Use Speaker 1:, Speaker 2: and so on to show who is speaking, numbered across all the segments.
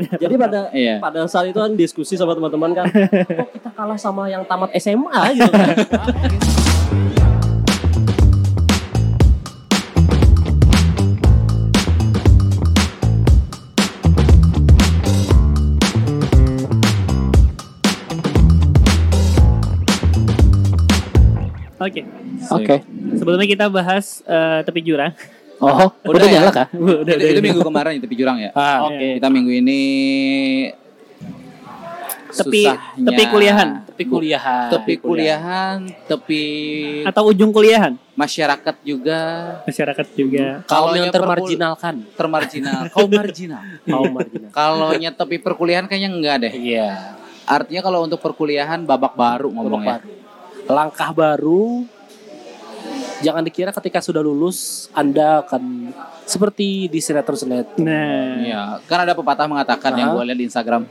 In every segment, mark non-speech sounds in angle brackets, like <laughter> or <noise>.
Speaker 1: <laughs> Jadi pada
Speaker 2: Iya.
Speaker 1: pada saat itu kan diskusi sama teman-teman
Speaker 2: <laughs>
Speaker 1: kan, kok kita kalah sama yang tamat SMA gitu kan.
Speaker 3: Oke.
Speaker 2: Oke.
Speaker 3: Sebelumnya kita bahas eh, tepi jurang.
Speaker 2: Oh, <laughs> udah,
Speaker 4: Udah ya?
Speaker 2: nyala kah?
Speaker 3: Udah, iya.
Speaker 4: itu, itu minggu kemarin itu jurang ya.
Speaker 2: Ah,
Speaker 3: Oke.
Speaker 2: oke.
Speaker 4: Kita minggu ini
Speaker 3: Tepi-
Speaker 4: susahnya-
Speaker 3: tepi kuliahan.
Speaker 2: Tepi kuliahan.
Speaker 4: tepi kuliahan, tepi
Speaker 3: Atau ujung kuliahan
Speaker 4: masyarakat juga.
Speaker 3: masyarakat juga.
Speaker 4: Kalau
Speaker 2: yang
Speaker 4: yang termarginal,
Speaker 2: <laughs> termarginalkan.
Speaker 4: termarginal, kaum
Speaker 3: <laughs>
Speaker 4: marginal.
Speaker 1: Kaum marginal.
Speaker 4: Kalau nya tepi perkuliahan kayaknya enggak deh.
Speaker 2: Iya.
Speaker 4: Artinya kalau untuk perkuliahan babak baru ya. ngomongnya.
Speaker 2: Babak baru. Langkah baru. Jangan dikira ketika sudah lulus Anda akan seperti di sinetron-sinetron.
Speaker 3: Nah,
Speaker 4: Iya, kan ada pepatah mengatakan
Speaker 2: Aha.
Speaker 4: yang gue lihat di Instagram.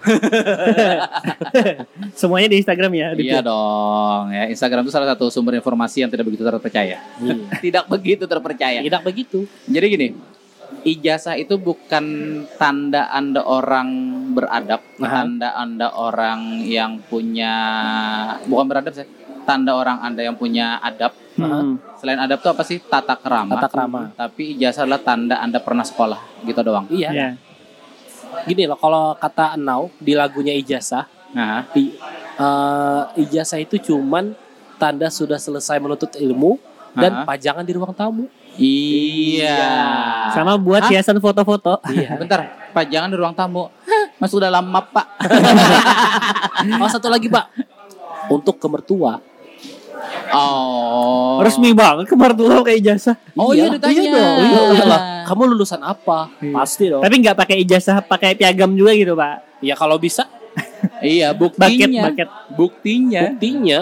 Speaker 3: <laughs> semuanya <laughs> di Instagram ya. Adit
Speaker 4: iya
Speaker 3: ya?
Speaker 4: dong, ya Instagram itu salah satu sumber informasi yang tidak begitu terpercaya.
Speaker 3: Iya.
Speaker 4: <laughs> Tidak begitu terpercaya.
Speaker 2: Tidak begitu.
Speaker 4: Jadi gini, ijazah itu bukan tanda Anda orang beradab,
Speaker 2: Aha.
Speaker 4: tanda Anda orang yang punya bukan beradab sih, tanda orang Anda yang punya adab.
Speaker 3: Hmm.
Speaker 4: Selain adab itu apa sih? Tata kerama.
Speaker 2: Tata kerama.
Speaker 4: Tapi ijazah adalah tanda Anda pernah sekolah, gitu doang.
Speaker 2: Iya.
Speaker 3: Ya.
Speaker 2: Gini loh, kalau kata Enau di lagunya Ijazah,
Speaker 4: Nah,
Speaker 2: I- eh, ijazah itu cuman tanda sudah selesai menuntut ilmu dan
Speaker 4: Aha.
Speaker 2: pajangan di ruang tamu.
Speaker 4: iya.
Speaker 3: Sama
Speaker 4: Hah?
Speaker 3: buat hiasan foto-foto.
Speaker 2: Iya.
Speaker 4: Bentar, Pak, jangan di ruang tamu. Hah, Masuk dalam map, Pak.
Speaker 2: <laughs> Oh satu lagi pak, untuk ke mertua.
Speaker 4: Oh.
Speaker 3: Resmi banget kemarin tuh kayak ijazah.
Speaker 4: Oh iya,
Speaker 2: dong.
Speaker 4: ditanya.
Speaker 2: Iya, Kan- iyalah.
Speaker 4: Kamu-
Speaker 2: Kamu lulusan apa?
Speaker 3: Iya.
Speaker 2: Pasti dong.
Speaker 3: Tapi nggak pakai ijazah, pakai piagam juga gitu pak.
Speaker 2: Ya kalau bisa,
Speaker 4: Iya,
Speaker 3: Bucket,
Speaker 4: buktinya.
Speaker 3: bucket. <laughs>
Speaker 4: Buktinya
Speaker 2: buktinya.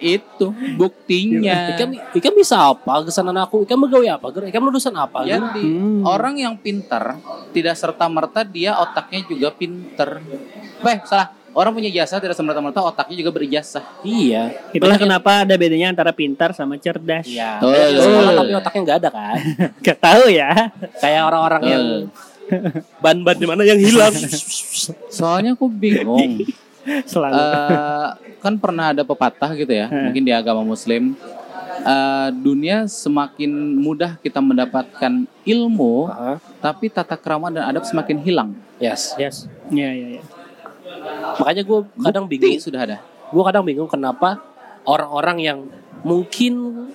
Speaker 4: itu, buktinya.
Speaker 2: Ikan, ikan bisa apa? Kesan aku, ikan pegawai apa? Ger? Ikan lulusan apa? Ger?
Speaker 4: Jadi
Speaker 3: Hmm.
Speaker 4: orang yang pintar tidak serta merta dia otaknya juga pinter. Eh salah. Orang punya jasa tidak serta merta otaknya juga berijasa.
Speaker 2: Iya.
Speaker 3: Itulah
Speaker 2: Banyak-
Speaker 3: kenapa ada bedanya antara pintar sama cerdas. <laughs>
Speaker 2: Iya.
Speaker 4: Betul.
Speaker 2: Banyak yang sekolah tapi otaknya nggak ada kan?
Speaker 3: Gak tahu ya.
Speaker 2: Kayak orang-orang yang
Speaker 4: Betul.
Speaker 2: ban-ban di mana yang hilang.
Speaker 4: Soalnya aku <laughs> bingung.
Speaker 3: <laughs> Selalu.
Speaker 4: Eh, kan pernah ada pepatah gitu ya,
Speaker 3: Hmm.
Speaker 4: mungkin di agama Muslim. Eh, dunia semakin mudah kita mendapatkan ilmu,
Speaker 2: Hah?
Speaker 4: tapi tata kerama dan adab semakin hilang.
Speaker 2: yes, yes.
Speaker 3: Iya iya iya.
Speaker 2: Makanya gue kadang bingung.
Speaker 4: Bukti sudah ada.
Speaker 2: Gue kadang bingung kenapa orang-orang yang mungkin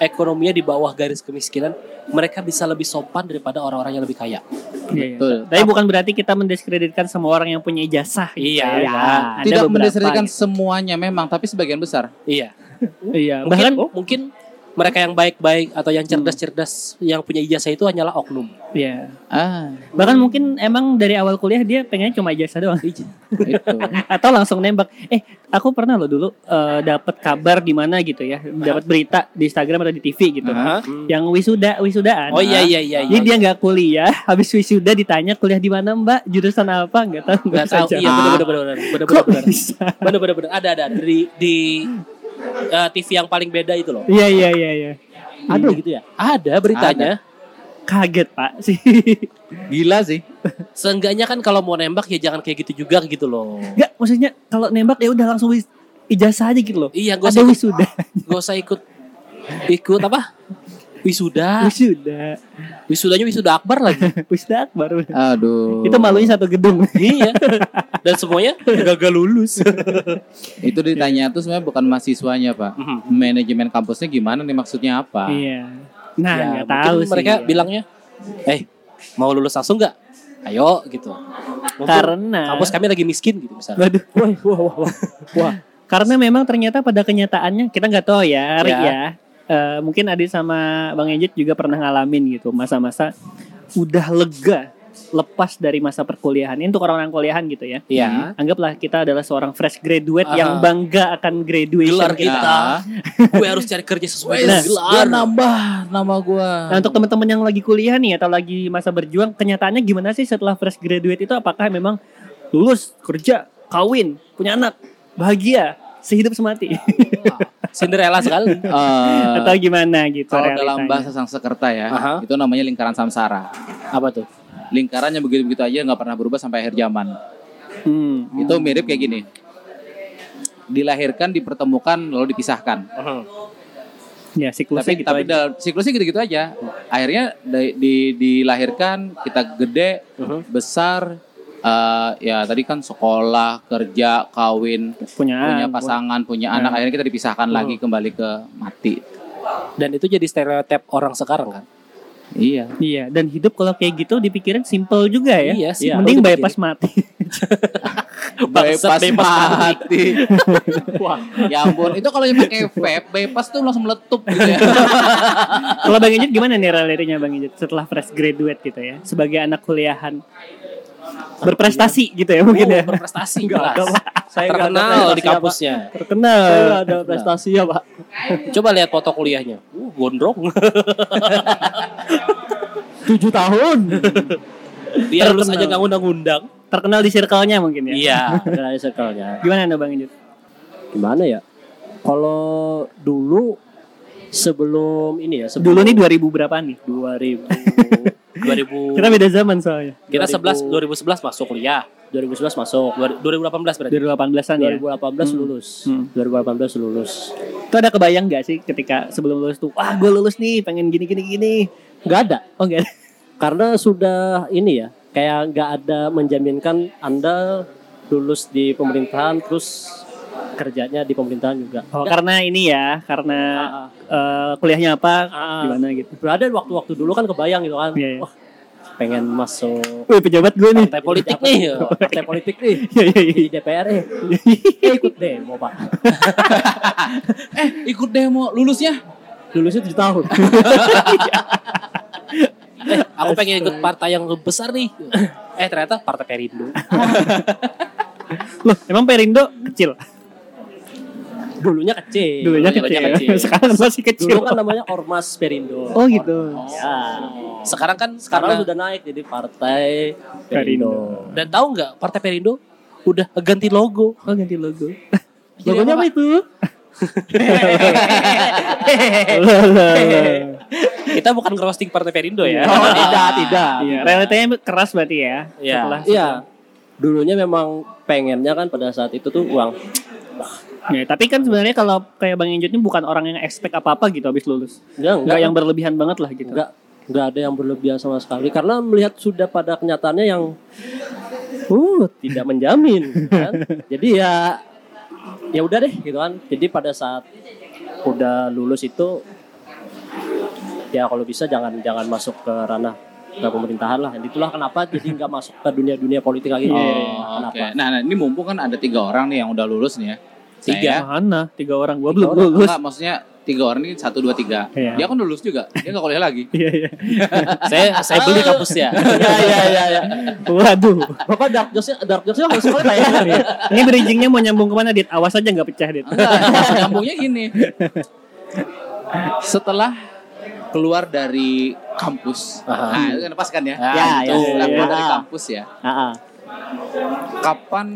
Speaker 2: ekonominya di bawah garis kemiskinan, mereka bisa lebih sopan daripada orang-orang yang lebih kaya.
Speaker 3: Iya, iya.
Speaker 4: Betul.
Speaker 3: Tapi bukan berarti kita mendiskreditkan semua orang yang punya ijazah.
Speaker 2: Iya,
Speaker 3: Ya,
Speaker 2: iya.
Speaker 3: ada
Speaker 4: Tidak
Speaker 3: beberapa
Speaker 4: mendiskreditkan
Speaker 3: gitu.
Speaker 4: semuanya memang, tapi sebagian besar.
Speaker 2: Iya.
Speaker 3: Iya.
Speaker 2: Mungkin,
Speaker 3: Bahkan Hmm.
Speaker 2: mungkin mereka yang baik-baik atau yang cerdas-cerdas yang punya ijazah itu hanyalah oknum.
Speaker 3: iya.
Speaker 4: Ah,
Speaker 3: Bahkan mungkin emang dari awal kuliah dia pengennya cuma ijazah doang.
Speaker 4: itu.
Speaker 3: Atau langsung nembak. Eh, aku pernah loh dulu eh, dapat kabar di mana gitu ya. Dapat berita di Instagram atau di TV gitu.
Speaker 4: Aha.
Speaker 3: Yang wisuda, wisudaan.
Speaker 2: Oh iya iya iya.
Speaker 3: Jadi dia nggak kuliah, <laughs> habis wisuda ditanya kuliah di mana Mbak, jurusan apa nggak tahu
Speaker 2: nggak
Speaker 3: bisa
Speaker 2: tahu.
Speaker 3: jawab.
Speaker 2: Iya benar benar benar benar
Speaker 3: Kok
Speaker 2: benar
Speaker 3: bisa?
Speaker 2: benar benar benar ada ada ada. di di eh, TV yang paling beda itu loh.
Speaker 3: Iya iya iya iya.
Speaker 2: Ada gitu ya? Ada beritanya.
Speaker 3: Kaget Pak sih.
Speaker 4: <laughs>
Speaker 3: <laughs>
Speaker 4: Gila sih.
Speaker 2: Seenggaknya kan kalau mau nembak ya jangan kayak gitu juga gitu loh.
Speaker 3: Enggak, maksudnya kalau nembak ya udah langsung wis- ijazah aja gitu loh.
Speaker 2: Iya, gak
Speaker 3: Ada
Speaker 2: usah,
Speaker 3: wisuda.
Speaker 2: gak usah ikut ikut apa? Wisuda.
Speaker 3: Wisuda.
Speaker 2: Wisudanya wisuda Akbar lagi.
Speaker 3: Wisuda baru.
Speaker 4: Aduh.
Speaker 3: Itu malunya satu gedung.
Speaker 2: iya. Dan semuanya gagal lulus.
Speaker 3: Nah,
Speaker 4: Itu ditanya tuh sebenarnya bukan mahasiswanya, Pak.
Speaker 2: Mhm.
Speaker 4: Manajemen kampusnya gimana nih maksudnya apa?
Speaker 3: Mm-hmm. Iya.
Speaker 2: Ya,
Speaker 3: Nah, nggak
Speaker 2: mungkin
Speaker 3: tahu sih.
Speaker 2: mereka bilangnya, "Eh, mau lulus langsung nggak? Ayo gitu." Mumpung
Speaker 3: karena Nah.
Speaker 2: kampus kami lagi miskin gitu misalnya.
Speaker 3: Waduh, wah, wah, wah, wah. Wah. Karena memang ternyata pada kenyataannya kita nggak tahu ya, Rik
Speaker 2: Ya.
Speaker 3: ya. Eh, mungkin Adi sama Bang Ejit juga pernah ngalamin gitu masa-masa udah lega lepas dari masa perkuliahan. Ini untuk orang-orang kuliahan gitu ya.
Speaker 2: Iya.
Speaker 3: Anggaplah kita adalah seorang fresh graduate
Speaker 2: Aha.
Speaker 3: yang bangga akan graduation
Speaker 2: Gelar
Speaker 4: Nah,
Speaker 3: kita.
Speaker 2: kita. Gue harus cari kerja sesuai dengan
Speaker 3: Nah,
Speaker 4: Gua
Speaker 2: gelar.
Speaker 4: nambah nama
Speaker 3: <laughs>
Speaker 4: gua.
Speaker 3: Nah, untuk teman-teman yang lagi kuliah nih atau lagi masa berjuang, kenyataannya gimana sih setelah fresh graduate itu apakah memang lulus, kerja, kawin, punya anak, bahagia, sehidup
Speaker 2: <laughs>
Speaker 3: semati
Speaker 2: Cinderella
Speaker 3: <laughs>
Speaker 2: sekali.
Speaker 4: Eh,
Speaker 3: atau gimana gitu
Speaker 4: kalau
Speaker 3: realitanya?
Speaker 4: dalam bahasa sang sekerta ya,
Speaker 2: Aha.
Speaker 4: itu namanya lingkaran samsara.
Speaker 2: Apa tuh?
Speaker 4: lingkarannya begitu-begitu aja nggak pernah berubah sampai akhir zaman.
Speaker 3: Hmm.
Speaker 2: gitu.
Speaker 4: Itu mirip kayak gini. Dilahirkan, dipertemukan, lalu dipisahkan.
Speaker 3: Ya siklusnya
Speaker 4: tapi
Speaker 3: gitu
Speaker 4: tapi
Speaker 3: aja.
Speaker 4: dalam siklusnya gitu-gitu aja. Akhirnya di, di- dilahirkan, kita gede, besar, eh, ya tadi kan sekolah, kerja, kawin,
Speaker 3: punya,
Speaker 4: punya pasangan, punya anak, akhirnya kita dipisahkan lagi kembali ke mati.
Speaker 2: Dan itu jadi stereotip orang sekarang kan.
Speaker 4: Iya.
Speaker 3: <laughs> Iya, dan hidup kalau kayak gitu dipikirin simple juga ya.
Speaker 2: Iya, simple
Speaker 3: Mending
Speaker 2: dipikirin.
Speaker 3: bypass mati. <laughs>
Speaker 4: Bypass
Speaker 2: bebas
Speaker 4: mati. <laughs> ya ampun, itu kalau yang pakai vape, bypass tuh langsung meletup gitu ya.
Speaker 3: kalau Bang Ijit gimana nih realitinya Bang Ijit setelah fresh graduate gitu ya, sebagai anak kuliahan berprestasi gitu ya mungkin ya. <laughs>
Speaker 2: Oh, berprestasi
Speaker 1: Enggak,
Speaker 2: jelas.
Speaker 1: enggak, Pak. Saya enggak ada
Speaker 2: Terkenal di
Speaker 1: prestasi,
Speaker 2: kampusnya.
Speaker 1: Pak. Saya enggak
Speaker 3: Terkenal.
Speaker 1: ada prestasi ya, Pak.
Speaker 2: Coba lihat foto kuliahnya. Uh, gondrong. <laughs>
Speaker 3: Tujuh tahun.
Speaker 2: Dia lulus
Speaker 3: Terkenal.
Speaker 2: aja nggak undang-undang.
Speaker 3: Terkenal di circle-nya mungkin ya.
Speaker 1: <laughs>
Speaker 2: Iya.
Speaker 1: Dari circle-nya.
Speaker 3: Gimana nih Bang Ijit?
Speaker 1: ya. Gimana ya? Kalau dulu sebelum ini ya, sebelum
Speaker 3: Dulu nih 2000 berapaan nih?
Speaker 1: 2000
Speaker 2: 2000
Speaker 3: <laughs> Kita beda zaman soalnya.
Speaker 2: Kita
Speaker 1: 2000
Speaker 2: 11 2011 masuk kuliah.
Speaker 1: 2011 masuk,
Speaker 2: 2018 berarti.
Speaker 3: 2018-an ya.
Speaker 1: 2018 lulus.
Speaker 3: Hmm.
Speaker 1: 2018 lulus.
Speaker 3: Itu ada kebayang gak sih ketika sebelum lulus tuh, wah gue lulus nih, pengen gini gini gini.
Speaker 1: Enggak ada
Speaker 3: Oh enggak.
Speaker 1: karena sudah ini ya kayak nggak ada menjaminkan anda lulus di pemerintahan terus kerjanya di pemerintahan juga
Speaker 3: Oh, <laughs> karena ini ya, karena eh, kuliahnya apa,
Speaker 1: Ah.
Speaker 3: gimana gitu.
Speaker 1: berada waktu-waktu dulu kan kebayang gitu kan
Speaker 3: Iya, iya.
Speaker 1: wah pengen masuk
Speaker 3: Wih pejabat gue nih.
Speaker 2: Partai politik nih.
Speaker 1: partai politik nih
Speaker 3: <laughs> Iya iya iya.
Speaker 1: di DPR
Speaker 3: <laughs>
Speaker 1: eh Eh, ikut demo pak
Speaker 4: eh, ikut demo lulusnya.
Speaker 1: lulusnya 7
Speaker 3: <laughs>
Speaker 1: tahun
Speaker 2: Aku pengen ikut partai yang besar nih. Eh ternyata partai Perindo.
Speaker 3: Loh, emang Perindo kecil?
Speaker 1: dulunya kecil
Speaker 2: dulunya
Speaker 3: Dulunya kecil.
Speaker 2: Iya,
Speaker 3: ya?
Speaker 2: kecil.
Speaker 3: <laughs> Sekarang masih kecil.
Speaker 1: dulu kan namanya ormas perindo
Speaker 3: Oh gitu.
Speaker 1: ya
Speaker 2: Sekarang kan
Speaker 1: sekarang
Speaker 2: sekarang
Speaker 1: sudah naik jadi partai
Speaker 3: Perindo.
Speaker 1: perindo
Speaker 2: dan tahu nggak partai Perindo udah ganti logo.
Speaker 3: Oh ganti logo.
Speaker 1: logonya apa
Speaker 3: <laughs>
Speaker 1: itu
Speaker 3: Loh, loh, loh.
Speaker 2: Kita bukan roasting partai Perindo ya.
Speaker 4: Oh, tidak, tidak.
Speaker 3: Iya, realitanya keras berarti ya.
Speaker 2: Iya.
Speaker 3: Setelah
Speaker 1: Iya. Dulunya memang pengennya kan pada saat itu tuh uang.
Speaker 3: Ya, tapi kan sebenarnya kalau kayak Bang Injut ini bukan orang yang expect apa-apa gitu habis lulus.
Speaker 1: Ya,
Speaker 3: Enggak
Speaker 1: enggak
Speaker 3: yang berlebihan banget lah gitu.
Speaker 1: enggak enggak ada yang berlebihan sama sekali karena melihat sudah pada kenyataannya yang uh tidak menjamin
Speaker 2: <laughs>
Speaker 1: kan. Jadi ya ya udah deh gitu kan. Jadi pada saat udah lulus itu ya kalau bisa jangan jangan masuk ke ranah ke pemerintahan lah. Dan itulah kenapa jadi nggak masuk ke dunia-dunia politik
Speaker 2: Iya,
Speaker 1: lagi.
Speaker 4: Oh, oke. Nah, nah, ini mumpung kan ada tiga orang nih yang udah lulus nih ya.
Speaker 2: Tiga.
Speaker 4: Saya-
Speaker 3: Mana? Tiga orang gua
Speaker 4: Tiga
Speaker 3: belum
Speaker 4: orang.
Speaker 3: lulus. <laughs>
Speaker 4: Enggak, maksudnya tiga orang ini satu dua tiga.
Speaker 3: Iya.
Speaker 4: Dia kan lulus juga. Dia nggak kuliah lagi.
Speaker 3: Iya iya.
Speaker 2: saya saya
Speaker 1: <laughs>
Speaker 2: beli kampusnya.
Speaker 1: Ya ya ya ya.
Speaker 3: Waduh.
Speaker 1: Bapak dark jokes dark jokes harus sekali lah ya.
Speaker 2: Iya.
Speaker 3: Ini bridgingnya mau nyambung kemana Dit? Awas aja nggak pecah Dit.
Speaker 4: Enggak, Nah, maksud nyambungnya gini. Setelah keluar dari kampus, nah itu kan pas kan ya?
Speaker 1: Ya, ya,
Speaker 4: itu. Setelah
Speaker 1: ya,
Speaker 4: keluar
Speaker 1: ya.
Speaker 4: dari kampus ya.
Speaker 1: Ah, ah.
Speaker 4: Kapan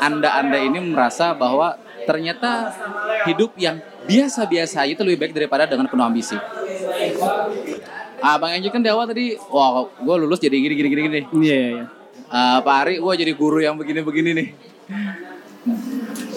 Speaker 4: anda-anda ini merasa bahwa ternyata hidup yang biasa-biasa aja itu lebih baik daripada dengan penuh ambisi? Ah, Bang Anji kan di awal tadi, wah gue lulus jadi gini gini gini gini.
Speaker 3: Iya iya. iya.
Speaker 4: Ah, Pak Ari, gue jadi guru yang begini-begini nih.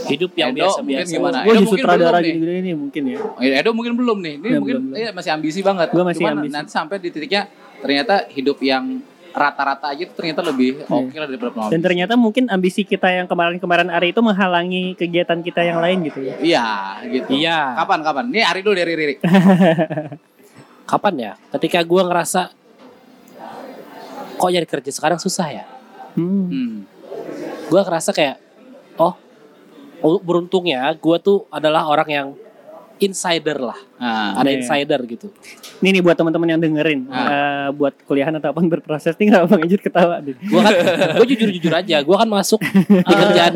Speaker 2: Hidup yang
Speaker 4: Edo, mungkin
Speaker 2: biasa-biasa.
Speaker 4: gimana? Edo Nah,
Speaker 3: Gue jadi
Speaker 4: mungkin
Speaker 3: sutradara
Speaker 4: belum nih.
Speaker 3: gini-gini nih mungkin ya.
Speaker 4: Eh, Edo mungkin belum nih. Ini
Speaker 3: Belum,
Speaker 4: mungkin
Speaker 3: belum, belum.
Speaker 4: iya, masih ambisi banget.
Speaker 3: Gua masih
Speaker 4: Cuman
Speaker 3: ambisi.
Speaker 4: nanti sampai di titiknya ternyata hidup yang rata-rata aja itu ternyata lebih oke lah daripada penuh
Speaker 3: Iya. Dan
Speaker 4: ambisi.
Speaker 3: ternyata mungkin ambisi kita yang kemarin-kemarin Ari itu menghalangi kegiatan kita yang lain gitu ya.
Speaker 4: Iya, gitu.
Speaker 2: Iya.
Speaker 4: Kapan kapan? Nih Ari dulu dari
Speaker 3: <laughs>
Speaker 4: Riri.
Speaker 2: Kapan ya? Ketika gua ngerasa kok nyari kerja sekarang susah ya.
Speaker 3: Hmm.
Speaker 4: Hmm.
Speaker 2: gue ngerasa kayak oh oh, beruntungnya gue tuh adalah orang yang insider lah
Speaker 4: Nah,
Speaker 2: ada
Speaker 3: Iya.
Speaker 2: insider gitu
Speaker 3: Ini nih buat teman-teman yang dengerin,
Speaker 2: Ah.
Speaker 3: eh, buat kuliahan ataupun berproses nih nggak bang Ijut ketawa deh.
Speaker 2: gue kan gue jujur jujur aja gue kan masuk di kerjaan